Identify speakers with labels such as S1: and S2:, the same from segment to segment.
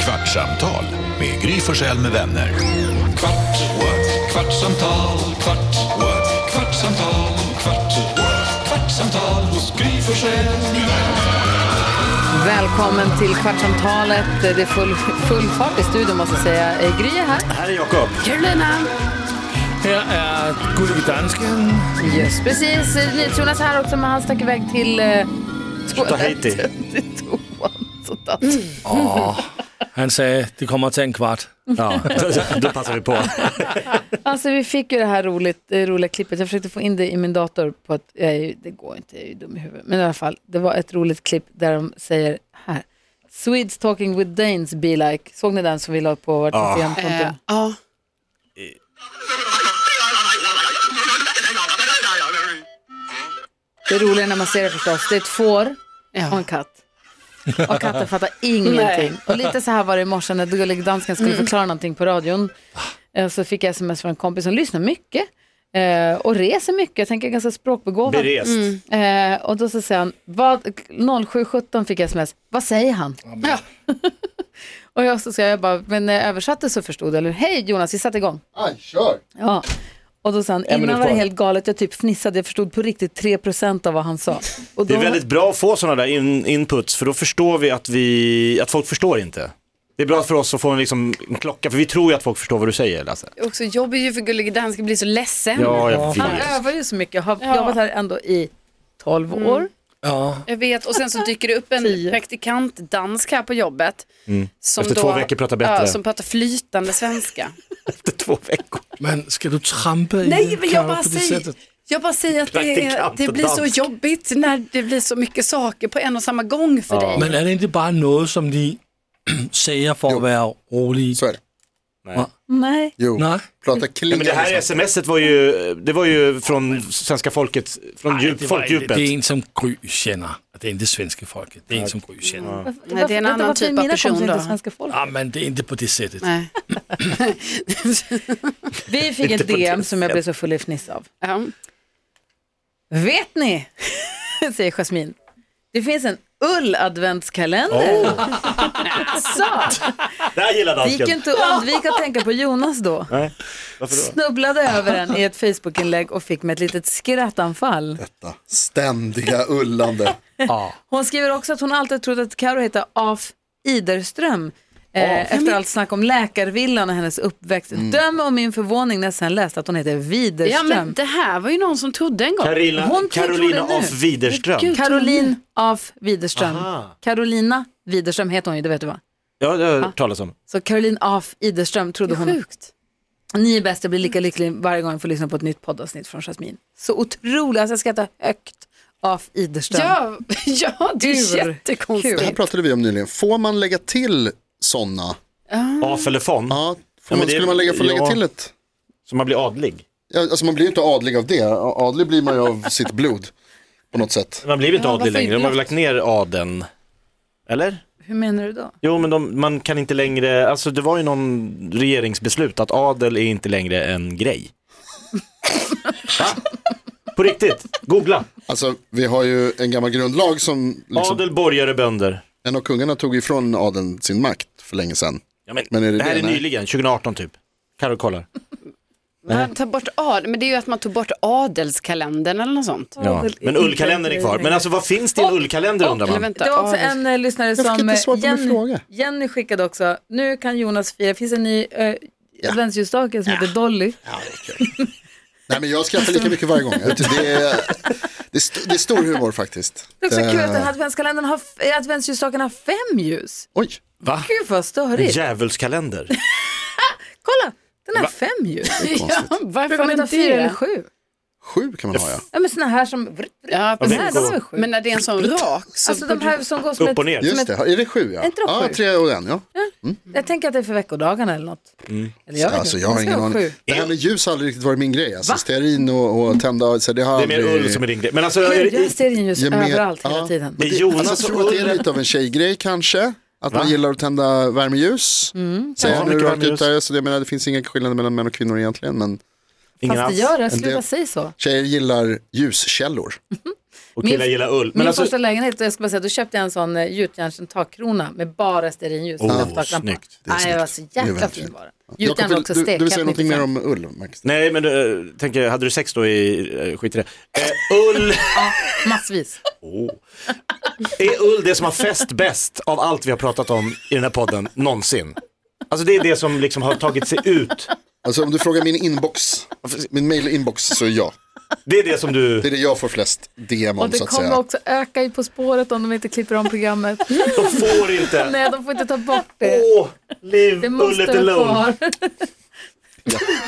S1: kvartsamtal med Gry Forssell med vänner. Kvart, what? kvartsamtal, kvart, what? kvartsamtal, kvart, what? kvartsamtal hos Gry Forssell med vänner.
S2: Välkommen till Kvartsamtalet. Det är full, full fart i studion måste jag säga. Eh, Gry är här.
S3: Här är Jakob.
S2: Carolina.
S3: Här är Gullige Dansken.
S2: Yes, precis. Eh, Jonas är här också, men han stack iväg till eh,
S3: Tahiti.
S2: till toan. Sånt att-
S4: Han sa det kommer att ta en kvart.
S3: Ja, då passar vi på.
S2: Alltså vi fick ju det här roligt, det roliga klippet. Jag försökte få in det i min dator på att, jag är ju, det går inte, jag är ju dum i huvudet. Men i alla fall, det var ett roligt klipp där de säger här. Swedes talking with Danes be like. Såg ni den som vi la upp på vårt Instagramkonto?
S5: Ja.
S2: Det roliga när man ser det förstås, det är ett får
S5: Ja.
S2: och en katt. Och katten fattar ingenting. Och lite så här var det i morse när Gullig Dansken
S3: Mm.
S2: skulle förklara någonting på radion. Eh, Så fick jag sms från en kompis som lyssnar mycket eh, och reser mycket. Jag tänker ganska språkbegåvad.
S3: Berest.
S2: Eh, och då så säger han, vad, 07.17 fick jag sms, vad säger han?
S5: Ja.
S2: och jag så säger jag bara, men eh, översatte så förstod jag, eller hej Jonas, vi satte igång. Aj, kör! Ja. Och då sa han, innan
S3: minut
S2: var det
S3: kvar.
S2: helt galet, jag typ fnissade, jag förstod på riktigt 3% av vad han sa. Och
S3: Det
S2: då-
S3: är väldigt bra att få sådana där in, inputs för då förstår vi att, vi att folk förstår inte. Det är bra för oss att få en, liksom, en klocka för vi tror ju att folk förstår vad du säger Lasse.
S5: Också jobbigt ju för Gullige Dansken blir så ledsen.
S3: Ja, jag vet.
S2: Han övar ju så mycket, har
S5: Ja.
S2: jobbat här ändå i 12 år.
S4: Ja.
S5: Jag vet, och sen så dyker det upp en praktikant dansk här på jobbet. Som
S3: Mm. Efter två veckor pratar bättre. Mm.
S5: Ja, som pratar flytande svenska.
S3: Efter två veckor.
S4: Men ska du trampa i
S5: Nej, men jag
S4: Karo
S5: bara
S4: på det
S5: säger,
S4: sättet?
S5: jag bara säger att det, är-
S3: Praktikant
S5: det blir så
S3: dansk.
S5: jobbigt när det blir så mycket saker på en och samma gång för dig.
S4: Men är det inte bara något som ni säger för att vara rolig?
S6: Så är det.
S2: Nej.
S6: Jo,
S4: Nej.
S3: Nej, men
S6: prata
S3: det
S6: klingande
S3: här
S6: svenska.
S3: smset var ju, det var ju från svenska folket, från djup,
S4: Det är
S3: folkdjupet.
S4: en som Gry känner. Det är inte svenska folket. Det är en som Gry känner. Ja.
S5: Nej, det är en
S2: Vänta,
S5: annan
S2: varför är
S5: typ av
S2: mina
S5: person
S2: kompisar
S5: då.
S2: inte svenska folk?
S4: men det är inte på det sättet.
S5: Nej.
S2: Vi fick
S3: Inte
S2: ett
S3: på det
S2: DM som jag blev så full i fniss av.
S5: Ja.
S2: Vet ni, säger Jasmin, det finns en ull-adventskalender. Så,
S3: Oh. Det här gillar
S2: Alltså! det gick ju
S3: dansken.
S2: inte att undvika att tänka på Jonas då.
S3: Nej, varför då?
S2: Snubblade över den i ett Facebookinlägg och fick med ett litet skrattanfall.
S6: Ständiga ullande.
S2: Hon skriver också att hon alltid trott att Karo heter Af Iderström. Eh, efter allt snack om läkarvillan och hennes uppväxt. Döm om min förvåning när jag sen läste att hon heter
S5: Mm. ja,
S2: Widerström.
S5: men det här var ju någon som trodde en gång.
S3: Carina,
S2: Hon tror
S3: Carolina
S2: det nu.
S3: af Widerström.
S5: Gud.
S2: Caroline af Widerström.
S3: Aha.
S2: Carolina Widerström heter hon ju, det vet du va?
S3: Ja, det har jag hört talas om.
S2: Så Caroline af Iderström trodde
S5: Det är
S2: hon.
S5: sjukt.
S2: Ni är bäst, jag blir lika lycklig varje gång jag får lyssna på ett nytt poddavsnitt från Jasmine. Så otroligt, alltså jag skrattar högt. Af Iderström.
S5: Ja, ja, det är
S2: Kul.
S5: jättekonstigt.
S6: Det här pratade vi om nyligen. Får man lägga till sådana?
S3: Af eller von,
S6: Ja, får
S3: men
S6: man,
S3: det-
S6: skulle man lägga, få lägga
S3: ja.
S6: till ett?
S3: så man blir adlig.
S6: Ja, alltså man blir ju inte adlig av det. Adlig blir man ju av sitt blod. På något sätt.
S3: Man blir inte
S5: Ja,
S3: adlig
S5: varför
S3: längre,
S5: inte
S3: de har
S5: då?
S3: väl lagt ner adeln. Eller?
S2: Hur menar du då?
S3: Jo, men de, man kan inte längre, alltså det var ju någon regeringsbeslut att adel är inte längre en grej. Va? På riktigt, googla.
S6: Alltså vi har ju en gammal grundlag som, liksom,
S3: Adel, borgare, bönder.
S6: en av kungarna tog ifrån adeln sin makt för länge sedan.
S3: Ja, men,
S6: Men är
S3: det,
S6: det
S3: här
S6: det?
S3: är
S6: Nej.
S3: nyligen, 2018 typ. Carro kollar.
S5: Man tar bort ad, men det är ju att man tog bort adelskalendern eller något sånt.
S3: Ja. Men ullkalendern är kvar. Men alltså vad finns det i en ullkalender undrar
S5: Eller
S3: man?
S5: vänta,
S2: Det var också
S5: adels-
S2: en eh, lyssnare
S6: fick
S2: som...
S6: inte
S2: eh,
S6: svar på min fråga.
S2: Jenny skickade också, nu kan Jonas fira, det finns en ny eh, adventsljusstake som heter Dolly.
S6: Nej men jag skrattar lika mycket varje gång. Jag tycker Det är, det är, st- det är stor humor faktiskt.
S2: Det är också
S6: Eh,
S2: kul att den här adventskalendern har, f- eh, adventsljusstaken har fem ljus.
S6: Eh, Oj,
S3: Va?
S2: Gud vad
S3: En
S2: störigt.
S3: djävulskalender.
S2: Kolla, den har fem ljus.
S5: Ja, varför
S2: Brukar man inte ha fyra eller
S5: det?
S2: sju?
S6: sju kan man ha ja.
S2: Ja men såna här som, vrrt, vrrt,
S5: Ja,
S2: de här,
S5: precis.
S2: de är väl sju?
S5: Men när det är en sån rak så...
S2: alltså de här som går som
S3: Upp och
S2: ett,
S3: ner.
S6: Just det, är det sju ja?
S2: inte det
S6: ja,
S2: sju?
S6: tre och en ja.
S2: jag tänker att det är för veckodagarna eller något. Eller jag vet
S6: Alltså,
S2: inte,
S6: jag har
S2: det ska
S6: ingen
S2: vara
S6: aning.
S2: sju.
S6: Det här med ljus har aldrig riktigt varit min grej. Alltså, stearin och, och tända, så det har
S3: Det är mer
S6: aldrig...
S3: ull som är din grej. Men alltså, är
S2: Gud,
S3: det-
S2: jag ser in ljus
S6: Ge mer-
S2: överallt hela
S6: ja.
S2: tiden.
S3: är
S6: Alltså,
S3: Jonas
S6: jag tror att det är
S3: ull?
S6: lite av en tjejgrej kanske. Att man gillar att tända värmeljus.
S2: Mm,
S6: Säger
S3: Ja,
S6: jag nu
S3: mycket
S6: rakt ut
S3: värmeljus.
S6: här, så det, jag menar, det finns inga skillnader mellan män och kvinnor egentligen. Men
S3: Ingen
S2: Fast det
S3: alls.
S2: gör det, sluta
S6: del-
S2: säga så.
S6: tjejer gillar ljuskällor.
S3: Och
S2: Min-
S3: killar gillar ull. Men
S2: Min
S3: alltså,
S2: första lägenhet, jag ska bara säga, då köpte jag en sån eh, gjutjärns takkrona med bara stearinljus.
S3: Oh,
S2: och taklampa.
S3: snyggt.
S6: Det är
S2: Nej, det var så
S6: snyggt. Det är
S2: jäkla
S6: väldigt
S2: fin
S6: fint.
S2: var den.
S6: Jakob,
S2: Gjutjärn var
S6: vill-
S2: också
S6: du, du vill säga
S2: stekhett.
S6: någonting mer
S2: 95.
S6: om ull, Max?
S3: nej men du, eh, tänker, hade du sex då i, eh, skit i det. Eh, ull,
S2: Ja, massvis.
S3: Åh. är ull det som har fäst bäst av allt vi har pratat om i den här podden någonsin? Alltså det är det som liksom har tagit sig ut.
S6: Alltså om du frågar min inbox, min mail inbox så är ja.
S3: Det är det som du,
S6: Det är det jag får flest DM
S2: Och
S6: om
S2: det
S6: så att
S2: kommer
S6: säga.
S2: också öka i På spåret om de inte klipper om programmet.
S3: de får inte.
S2: Nej, de får inte ta bort det.
S3: Åh, leave
S2: Det
S3: ullet
S2: måste vara
S3: alone.
S2: kvar.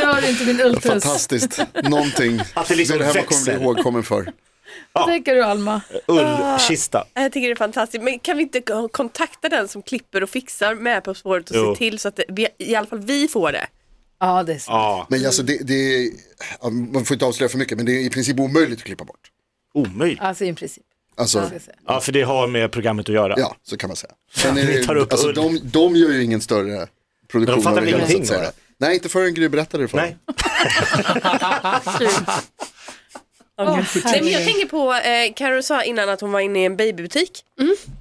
S2: Rör inte min ultrus.
S6: Fantastiskt, någonting.
S3: Att det liksom
S6: det är det här man
S3: växer.
S6: kommer bli ihågkommen för.
S2: Tänker du Alma?
S3: Ullkista.
S7: Jag tycker det är fantastiskt. Men kan vi inte k- kontakta den som klipper och fixar med På spåret och
S3: Jo.
S7: se till så att det, vi, i alla fall vi får det?
S2: Ja, det är så.
S3: Ja,
S6: Men alltså det, det är, ja, man får inte avslöja för mycket, men det är i princip omöjligt att klippa bort.
S3: omöjligt.
S2: Alltså i princip.
S6: Alltså,
S2: ska jag säga.
S3: Ja, för det har med programmet att göra.
S6: ja, så kan man säga. Sen är
S3: vi tar upp
S6: det, alltså,
S3: ull.
S6: de, de gör ju ingen större produktion
S3: Men de fattar väl
S6: av det hela, så
S3: ingenting
S6: att
S3: av
S6: säga. Nej, inte förrän Gry berättade det för
S3: Nej.
S6: dem.
S7: Nej, men jag tänker på, eh, Karo sa innan att hon var inne i en babybutik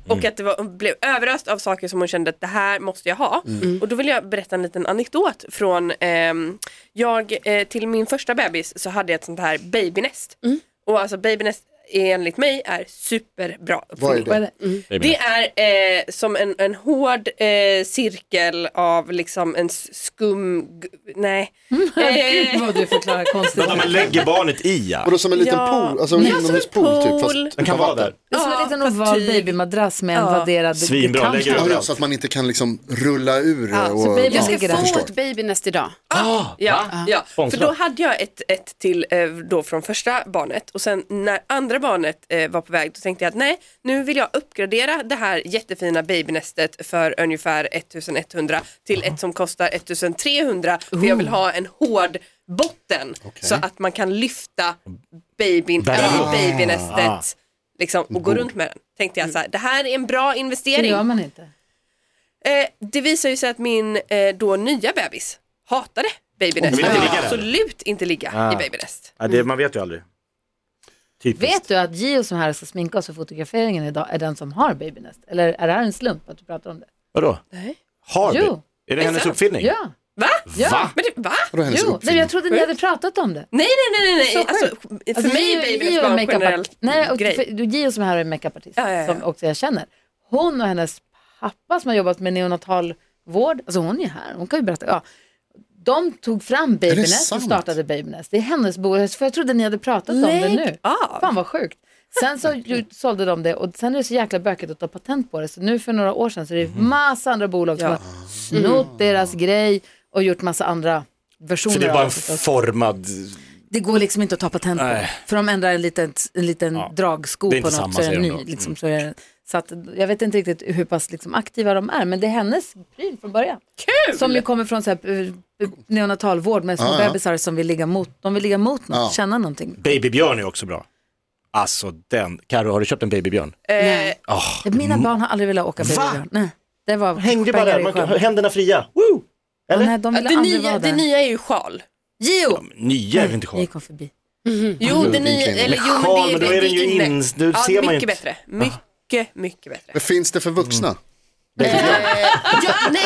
S7: och att det var, hon blev överöst av saker som hon kände att det här måste jag ha. Och då vill jag berätta en liten anekdot från, ehm, jag eh, till min första bebis så hade jag ett sånt här babynest. Och alltså babynest enligt mig är superbra
S6: Vad är
S7: uppfinning.
S6: det?
S2: Vad är det?
S7: Det är eh, som en, en hård eh, cirkel av liksom en s- skum, g- nej.
S2: Gud vad du förklarar konstigt.
S3: Vänta, men lägger barnet i
S6: Och
S3: ja.
S6: då som en liten
S7: Ja.
S6: pool, alltså en
S7: Ja, som en
S6: inomhuspool typ.
S7: pool.
S6: Fast
S3: Den kan
S6: utan
S3: vara
S6: vatten.
S3: där.
S2: Det är som en
S7: Ja,
S2: liten
S7: fast
S2: oval
S7: typ.
S2: babymadrass med en
S7: Ja.
S2: vadderad
S3: Svinbra,
S2: kant.
S3: lägger
S6: Ja,
S3: överallt.
S6: ja, så att man inte kan liksom rulla ur
S5: Ja, så
S6: och...
S2: babyn
S5: Jag ska
S2: ligger där.
S6: ja,
S5: få
S6: förstår.
S5: ett babynest idag.
S7: Ja, ja. för
S3: Sponsrat.
S7: då hade jag ett, ett till eh, då från första barnet och sen när andra barnet eh, var på väg då tänkte jag att nej, nu vill jag uppgradera det här jättefina babynästet för ungefär 1100 till ett som kostar 1300 för jag vill ha en hård botten så att man kan lyfta babyn
S3: Bära
S7: i
S3: upp.
S7: babynästet liksom, och gå runt med den. Tänkte jag så här, det här är en bra
S2: Det
S7: investering.
S2: gör man inte.
S7: Eh, det visar ju sig att min eh, då nya bebis hatade babynest.
S3: Hon vill inte ligga där. Ah.
S7: absolut inte ligga i babynest.
S3: Ja, det, man vet ju aldrig. Typiskt.
S2: Vet du att Gio som här ska sminka oss för fotograferingen idag är den som har babynest? Eller är det här en slump att du pratar om det?
S3: Vadå?
S7: Nej.
S3: Harby?
S2: Jo.
S3: Är det hennes uppfinning?
S2: Ja,
S7: Va?
S2: Ja.
S3: Va?
S7: Men det, va?
S6: Vadå, hennes
S2: jo. Nej,
S6: uppfinning?
S2: jag trodde ni hade pratat om det.
S7: Nej, nej, nej, nej. nej.
S2: Så
S7: Alltså,
S2: sjukt.
S7: för
S2: Alltså,
S7: mig är
S2: Gio- Gio
S7: babynest
S2: är
S7: bara en
S2: makeup-
S7: generell
S2: Nej, och
S7: grej.
S2: för, du, Gio som är här är makeupartist,
S7: Ja, ja, ja.
S2: som också jag känner. Hon och hennes pappa som har jobbat med neonatalvård, alltså hon är här, hon kan ju berätta. Ja. De tog fram Babynest och
S6: sant?
S2: startade Babynest. Det är hennes bolag, för jag trodde ni hade pratat om det nu.
S7: av.
S2: Fan vad sjukt. Sen så ju- sålde de det och sen är det så jäkla bökigt att ta patent på det. Så nu för några år sedan så är
S3: Mhm.
S2: det massa andra bolag som
S7: Ja. Mm.
S2: har snott deras grej och gjort massa andra versioner
S3: För det är
S2: av
S3: bara en
S2: förstås.
S3: formad...
S2: Det går liksom inte att ta patent på.
S3: Nej.
S2: För de ändrar en liten, en liten dragsko
S3: Det är
S2: på
S3: inte
S2: något
S3: samma,
S2: så är den
S3: säger de
S2: ny.
S3: då. Mm.
S2: Liksom, så är den, så att, jag vet inte riktigt hur pass liksom, aktiva de är, men det är hennes pryl från början. Kul! Som ju kommer från så här, eh, eh, neonatalvård med små
S6: Ja, ja.
S2: bebisar som vill ligga mot, de vill ligga mot något,
S6: Ja.
S2: känna någonting.
S3: Babybjörn är också bra. Alltså den. Karo, har du köpt en babybjörn?
S7: Eh,
S2: Mina barn har aldrig velat åka babybjörn. Nej, det var
S3: Hängde bara
S2: pengar
S3: där,
S2: i
S3: man, kan-
S2: sjön.
S3: händerna fria. Woo! Eller?
S2: Nej, de ville
S7: det,
S2: aldrig vara
S7: nya, det
S2: där.
S7: nya är ju sjal.
S2: Gio!
S3: Nya är väl inte
S2: Ni
S3: sjal?
S2: kom förbi.
S7: Jo, det nya,
S6: vinkling.
S7: eller jo, men
S3: Sjal,
S7: det,
S3: Mm. men då
S7: det,
S3: är den
S7: det
S3: ju
S7: inne.
S3: in, då
S7: ja,
S3: ser man Ah. ju
S7: mycket
S3: inte.
S7: bättre. Mycket, mycket bättre. Eh,
S6: Men finns det för vuxna?
S7: Ja, nej,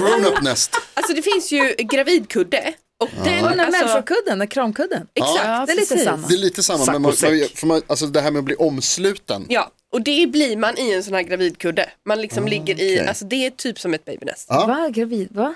S7: jo,
S6: Grown-up nest.
S7: alltså det finns ju gravidkudde. Och den,
S2: Och den där
S7: alltså,
S2: människokudden, den kramkudden.
S7: exakt.
S2: Ja, det är lite
S5: precis.
S2: samma.
S6: Det är lite samma,
S3: Sack
S6: men man,
S3: och säck.
S6: man, för man, alltså det här med att bli omsluten.
S7: Ja, och det blir man i en sån här gravidkudde. Man liksom ligger i, alltså det är typ som ett babynest.
S6: Ja.
S2: Va, gravid, va?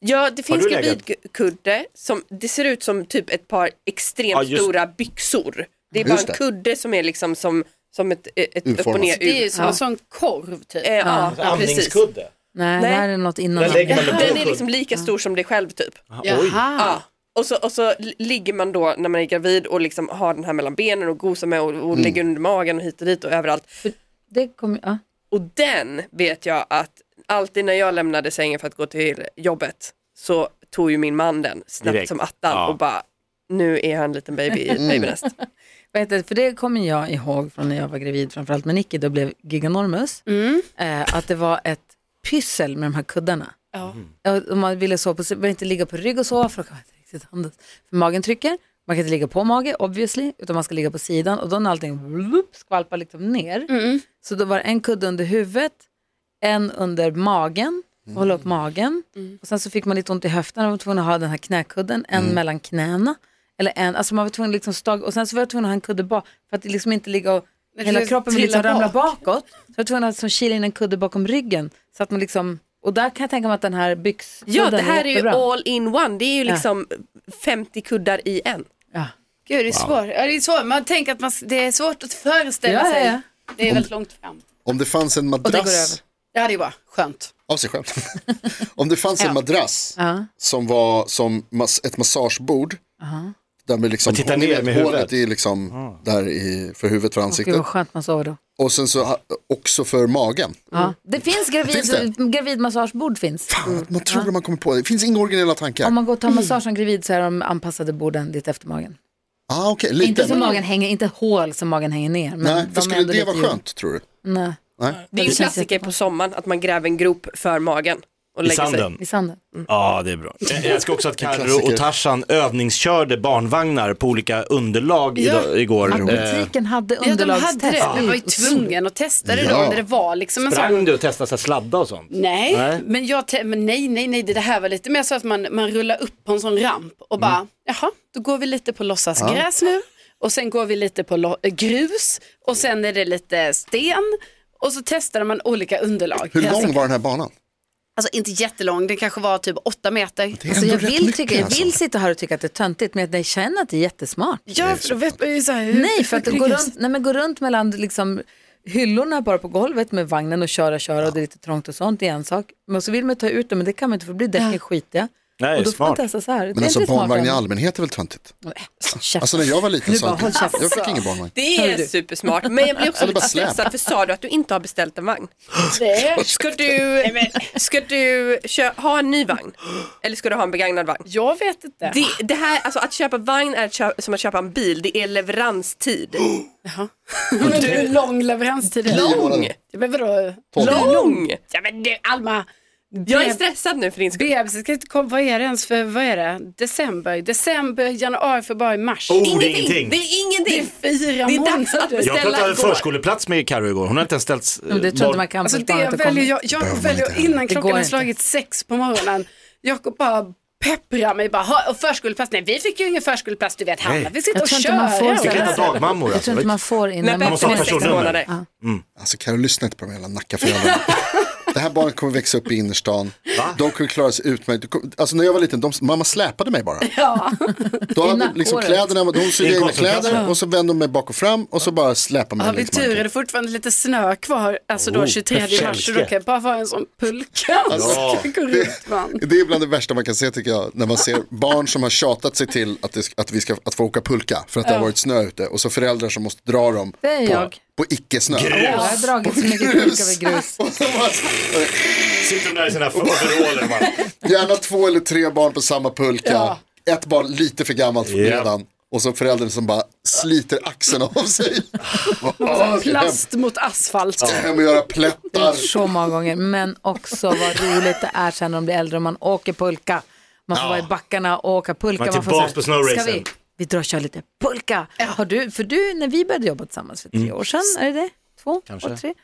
S7: Ja, det finns
S3: du legat?
S7: gravidkudde som, det ser ut som typ ett par extremt
S3: Ja, just-
S7: stora byxor. Det är bara
S6: Just
S7: en
S6: det.
S7: kudde som är liksom som, som ett, ett upp och
S6: Urformat.
S7: ner
S5: Det är ju
S7: U.
S5: som en sån korv typ.
S7: Eh, ja, precis.
S3: Andningskudde.
S2: Nej, det
S7: Nej.
S2: här är något innan.
S3: Där lägger man det
S7: Den
S3: på.
S7: är liksom lika stor som dig själv typ.
S3: Ah.
S5: Jaha.
S7: Ja. Och så, och så li- ligger man då när man är gravid och liksom har den här mellan benen och gosar med och, och lägger under magen och hit och dit och överallt.
S2: Det kommer, ja.
S7: Och den vet jag att alltid när jag lämnade sängen för att gå till jobbet så tog ju min man den snabbt
S3: Direkt.
S7: som attan
S3: Ja.
S7: och bara nu är han en liten baby i
S2: Mm.
S7: babynest.
S2: Vad heter det? För det kommer jag ihåg från när jag var gravid, framförallt med Nicky, då blev giganormus, eh, att det var ett pyssel med de här kuddarna.
S5: Ja.
S2: Ja, och man ville sova på, man ville inte ligga på rygg och sova för då kan man inte riktigt andas. För magen trycker Man kan inte ligga på mage, obviously, utan man ska ligga på sidan och då när allting blup, skvalpar liksom ner.
S5: Mm.
S2: Så då var det en kudde under huvudet, en under magen, hålla upp magen.
S5: Mm.
S2: Och sen så fick man lite ont i höften och var tvungen att ha den här knäkudden, en mellan knäna. Eller en, alltså man var tvungen att liksom stag, och sen så var jag tvungen att ha en kudde bak för att det liksom inte ligga och
S5: Men det
S2: hela
S5: skulle
S2: kroppen liksom
S5: trilla
S2: ramla
S5: bak.
S2: bakåt. Så jag var tvungen att liksom kila in en kudde bakom ryggen så att man liksom, och där kan jag tänka mig att den här byxkudden
S7: Ja, det här är ju
S2: jättebra.
S7: all in one. Det är ju
S2: Ja.
S7: liksom 50 kuddar i en.
S2: Ja.
S5: Gud, det är svårt. Ja, det är svårt. Man tänker att man, det är svårt att föreställa
S2: Ja, ja,
S5: sig.
S2: ja.
S5: Det är väldigt långt fram.
S6: Om det fanns en
S2: det går
S6: madrass
S2: över.
S5: Ja, det är bra. Skönt.
S6: Av sig själv. Om det fanns en madrass som var som mas- ett massagebord. Där med liksom
S3: Och titta
S6: ni
S3: ner
S6: vet,
S3: med huvudet. Ah.
S6: Hålet är liksom där i, för huvudet, för
S2: Gud
S6: ansiktet.
S2: vad skönt man sover då.
S6: Och sen så ha- också för magen.
S7: Mm.
S2: Ja. Det finns, gravid,
S6: Finns det?
S2: gravidmassagebord finns.
S6: Fan, man tror att man kommer på det. Det finns inga originella tankar.
S2: Om man går och tar massage som gravid så är de anpassade borden dit efter magen.
S6: Ah, okej, lite.
S2: Inte som magen hänger, inte hål som magen hänger ner. Men
S6: Nej,
S2: de
S6: för
S2: är
S6: skulle
S2: ändå
S6: det
S2: lite
S6: vara
S2: gjorda.
S6: skönt tror du?
S2: Nej,
S6: Nej.
S7: Det är ju
S2: Det känns
S7: klassiker
S2: jättebra.
S7: på sommaren att man gräver en grop för magen och
S3: I
S7: lägger sig.
S3: sanden.
S2: i sanden.
S3: Ja, det är bra. Jag jag älskar också att Carro
S6: klassiker.
S3: och Tarzan övningskörde barnvagnar på olika underlag idag, igår. Eh,
S2: Butiken hade
S5: Ja, de
S2: underlagstest.
S5: hade det. Du var ju
S2: Och så-
S5: tvungen att testa det då
S6: Ja.
S5: när det var liksom en sån.
S3: Sprang du och testade så här sladda och sånt?
S5: Nej,
S3: Nej.
S5: men jag te- men nej, nej, nej, det det här var lite mer så att man, man rullar upp på en sån ramp och bara,
S6: Mm.
S5: jaha, då går vi lite på låtsasgräs nu och sen går vi lite på lo- eh, grus och sen är det lite sten och så testade man olika underlag.
S6: Hur
S5: Alltså,
S6: lång var den här banan?
S5: Alltså inte jättelång, den kanske var typ åtta meter.
S6: Det är
S2: Alltså, jag,
S6: ändå rätt
S2: vill
S6: mycket,
S2: tycka, jag
S6: alltså.
S2: vill sitta här och tycka att det är töntigt men jag känner att det är jättesmart.
S5: Ja, för då vet man ju så här, hur-
S2: Nej, för att
S5: hur-
S2: gå runt, nej, men gå runt mellan liksom, hyllorna bara på golvet med vagnen och köra, köra och det är lite trångt och sånt, det är en sak. Men så vill man ta ut dem, men det kan man inte för då blir däcken skitiga.
S3: Nej,
S2: och då får man
S3: smart.
S2: testa så här. Det
S6: Men
S2: är
S6: alltså
S2: inte smart
S6: barnvagn i
S2: än.
S6: allmänhet är väl töntigt?
S2: Nej, käften.
S6: Alltså när jag var liten
S2: Du
S6: så
S2: bara,
S6: alltid,
S2: håll
S6: jag
S2: käften.
S6: fick ingen barnvagn.
S7: Det är supersmart, men jag blir också
S6: Eller bara
S7: lite
S6: släp.
S7: stressad för sa du att du inte har beställt en vagn?
S5: det.
S7: Ska du, ska du kö- ha en ny vagn? Eller ska du ha en begagnad vagn?
S5: Jag vet inte.
S7: Det, det här, alltså att köpa vagn är att kö- som att köpa en bil, det är leveranstid.
S5: Men du, hur lång leveranstid är det?
S6: Tio månader.
S5: Ja, Men vadå?
S6: Tolv.
S7: Lång!
S5: Ja men du, Alma.
S7: Jag är
S5: det-
S7: stressad nu för din skull.
S5: Bebisen ska inte komma, vad är det ens för, vad är det? December, december, januari, februari, mars.
S3: Oh, det är ingenting.
S7: Det är
S5: Det är
S7: ingenting!
S5: fyra
S7: Det är dags att
S5: månader.
S7: beställa.
S3: Jag pratade
S7: gå.
S3: förskoleplats med Carro igår. Hon har inte ens ställt... eh,
S2: Men det tror jag inte man kan
S5: Alltså
S2: för
S5: det
S2: barnet
S5: jag
S2: har
S5: väljer,
S2: kommit.
S5: jag, jag
S6: Behöver man
S5: väljer
S6: inte.
S5: innan
S2: Det
S5: klockan
S2: går
S5: har
S2: inte.
S5: slagit sex på morgonen. Jakob bara pepprar mig bara, "Ha, och förskoleplats, nej vi fick ju ingen förskoleplats du vet Hanna,
S3: Nej.
S5: vi sitter
S2: Jag
S5: och
S2: tror inte
S5: kör.
S2: man får
S5: och
S2: så
S3: Vi kan
S2: här.
S5: gör."
S3: inte ha dagmammor
S2: Jag
S3: alltså.
S2: tror inte man får
S7: När
S2: innan man
S3: måste ha
S7: bebisen är sex
S3: personnummer.
S7: månader.
S6: Alltså Carro, lyssna inte på de här jävla Nackaföräldrarna. Det här barnet kommer växa upp i innerstan. De kommer klara sig utmärkt. Du kom- Alltså när jag var liten, de, mamma släpade mig bara.
S5: Ja.
S6: Då hade
S2: nackhåret.
S6: liksom kläderna, de
S3: I
S6: sydde
S3: en
S6: egna
S3: konstgräsmatta.
S6: kläder och så vände de mig bak och fram och så bara släpade
S5: Har
S6: mig
S5: vi
S6: längs
S5: tur är
S6: marken.
S5: det fortfarande lite snö kvar, alltså då
S3: Oh,
S5: 23 mars, så då
S3: kälke.
S5: kan jag bara vara en sån pulka.
S6: Ja.
S5: Gå runt man.
S6: Det är bland det värsta man kan se tycker jag, när man ser barn som har tjatat sig till att, det, att vi ska att få åka pulka för att det har varit snö ute och så föräldrar som måste dra dem
S2: Det är jag.
S6: på icke-snö.
S2: Jag har dragit så mycket kuk över grus.
S6: Och så bara-
S3: Sitter de där i sina overaller man.
S6: Gärna två eller tre barn på samma pulka. Ett barn lite för gammalt
S3: Ja.
S6: redan. Och så föräldern som bara sliter axeln av sig. Åh, ska hem,
S5: Plast mot asfalt.
S6: hem och göra plättar.
S2: Så många gånger, men också vad roligt det är sen när de blir äldre och man åker pulka. Man får vara i backarna och åka pulka.
S3: Man är
S2: får så här,
S3: tillbaks på snowracen."
S2: "Ska vi? Vi drar och kör lite pulka. Har du, för du, när vi började jobba tillsammans för tre
S3: Mm.
S2: år sedan, är det det? Två och tre?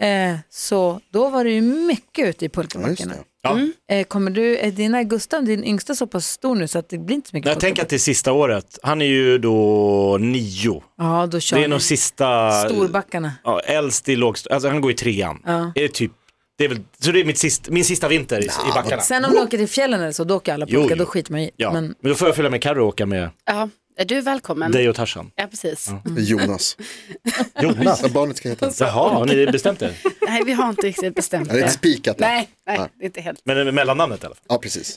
S2: Eh, så då var det ju mycket ute i pulkabackarna.
S3: Ja.
S2: eh, kommer du, är dina, Gustav, din yngsta så pass stor nu så att det blir inte så mycket
S3: Jag
S2: pulka?
S3: tänker att det är sista året. Han är ju då nio.
S2: Ja, då kör
S3: Det
S2: ni
S3: är nog sista...
S2: storbackarna.
S3: Ja, äldst i lågstadiet. Alltså han går i trean. Det är typ... Det är väl, så det är mitt sist, min sista vinter i, i backarna.
S2: Sen om du åker till fjällen eller så, då åker alla
S3: Jo,
S2: pulka,
S3: jo.
S2: då skiter man i.
S3: Ja.
S2: Men
S3: Men då får jag följa med Carro och åka med
S5: Ja, är du välkommen?
S3: dig och Tarzan.
S5: Ja, precis.
S6: Jonas.
S3: Jonas.
S6: Vad barnet ska heta.
S3: Jaha, har ni bestämt det?
S5: Nej, vi har inte riktigt bestämt
S6: Är det är
S5: det.
S6: inte spikat? än.
S5: Nej, nej, det är inte helt.
S3: Men det är mellannamnet i alla fall.
S6: Ja, precis.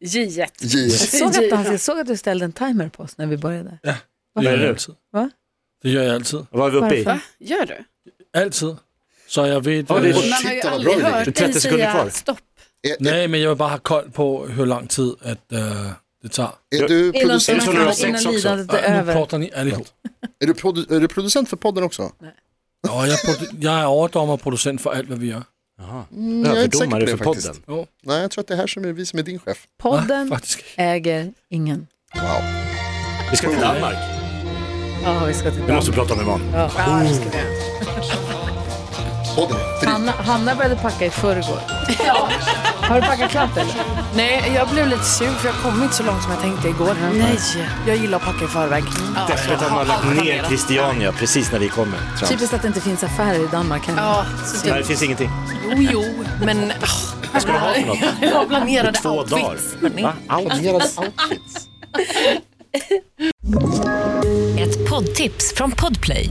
S5: Givet.
S6: J.
S2: såg att han, jag såg att du ställde en timer på oss när vi började.
S4: Det gör
S3: Vad är
S4: jag
S3: det?
S4: altid.
S2: Va?
S4: Det gör jag altid.
S3: Vad är vi uppe i?
S2: Varför?
S5: Gör du?
S4: Altid. Så jag vet...
S3: Ja, det är-
S4: øh,
S5: Man har ju
S6: Titta, vad
S5: aldrig
S6: bra vi
S5: hört
S3: ligger. 30
S5: dig
S3: sekunder
S5: säga
S3: kvar.
S5: stopp.
S6: Är, är,
S4: Nej, men jag vill bare have kold på, hvor lang tid at, øh, det tager.
S6: är du
S2: Innan,
S6: producent
S3: tror
S6: för
S3: du har
S2: innan,
S3: sex
S6: podden?
S2: innan
S3: också?
S2: lidandet
S4: Ej,
S2: är
S4: nu
S2: över.
S4: porter ni alle ihop.
S6: Är du, produ- är du producent för podden också?
S4: Nå, jeg, er produ- jeg er overdommer og producent for alt, hvad vi gør.
S6: jag är inte säker på
S3: Överdomare
S6: det
S3: för
S6: faktiskt.
S3: podden.
S4: Jo.
S6: Nej, jag tror att det är här som är vi som är din chef.
S4: Nej,
S2: Podden
S4: faktisk ikke.
S2: äger ingen.
S6: Wow.
S3: Vi ska till Danmark.
S8: Ja, vi ska till
S3: Vi
S8: Danmark.
S3: måste prata om imorgon.
S8: Ja.
S6: Podden. Fri.
S8: Hanna, Hanna började packa i förrgår. Har du packat klart eller?
S5: Nej, jag blev lite sur för jag kom inte så långt som jag tänkte igår. Nej. Jag gillar att packa i förväg.
S3: Därför att han har lagt ner Christiania precis när vi kommer. Trams.
S5: Typ
S8: Typiskt att det inte finns affärer i Danmark heller.
S5: Ja,
S3: Nej, det finns ingenting.
S5: jo, jo, men...
S3: Vad ska du ha för något?
S5: Jag planerade
S3: Två dagar.
S5: outfits.
S3: Va? Allt.
S6: Planerade outfits.
S9: Ett poddtips från Podplay.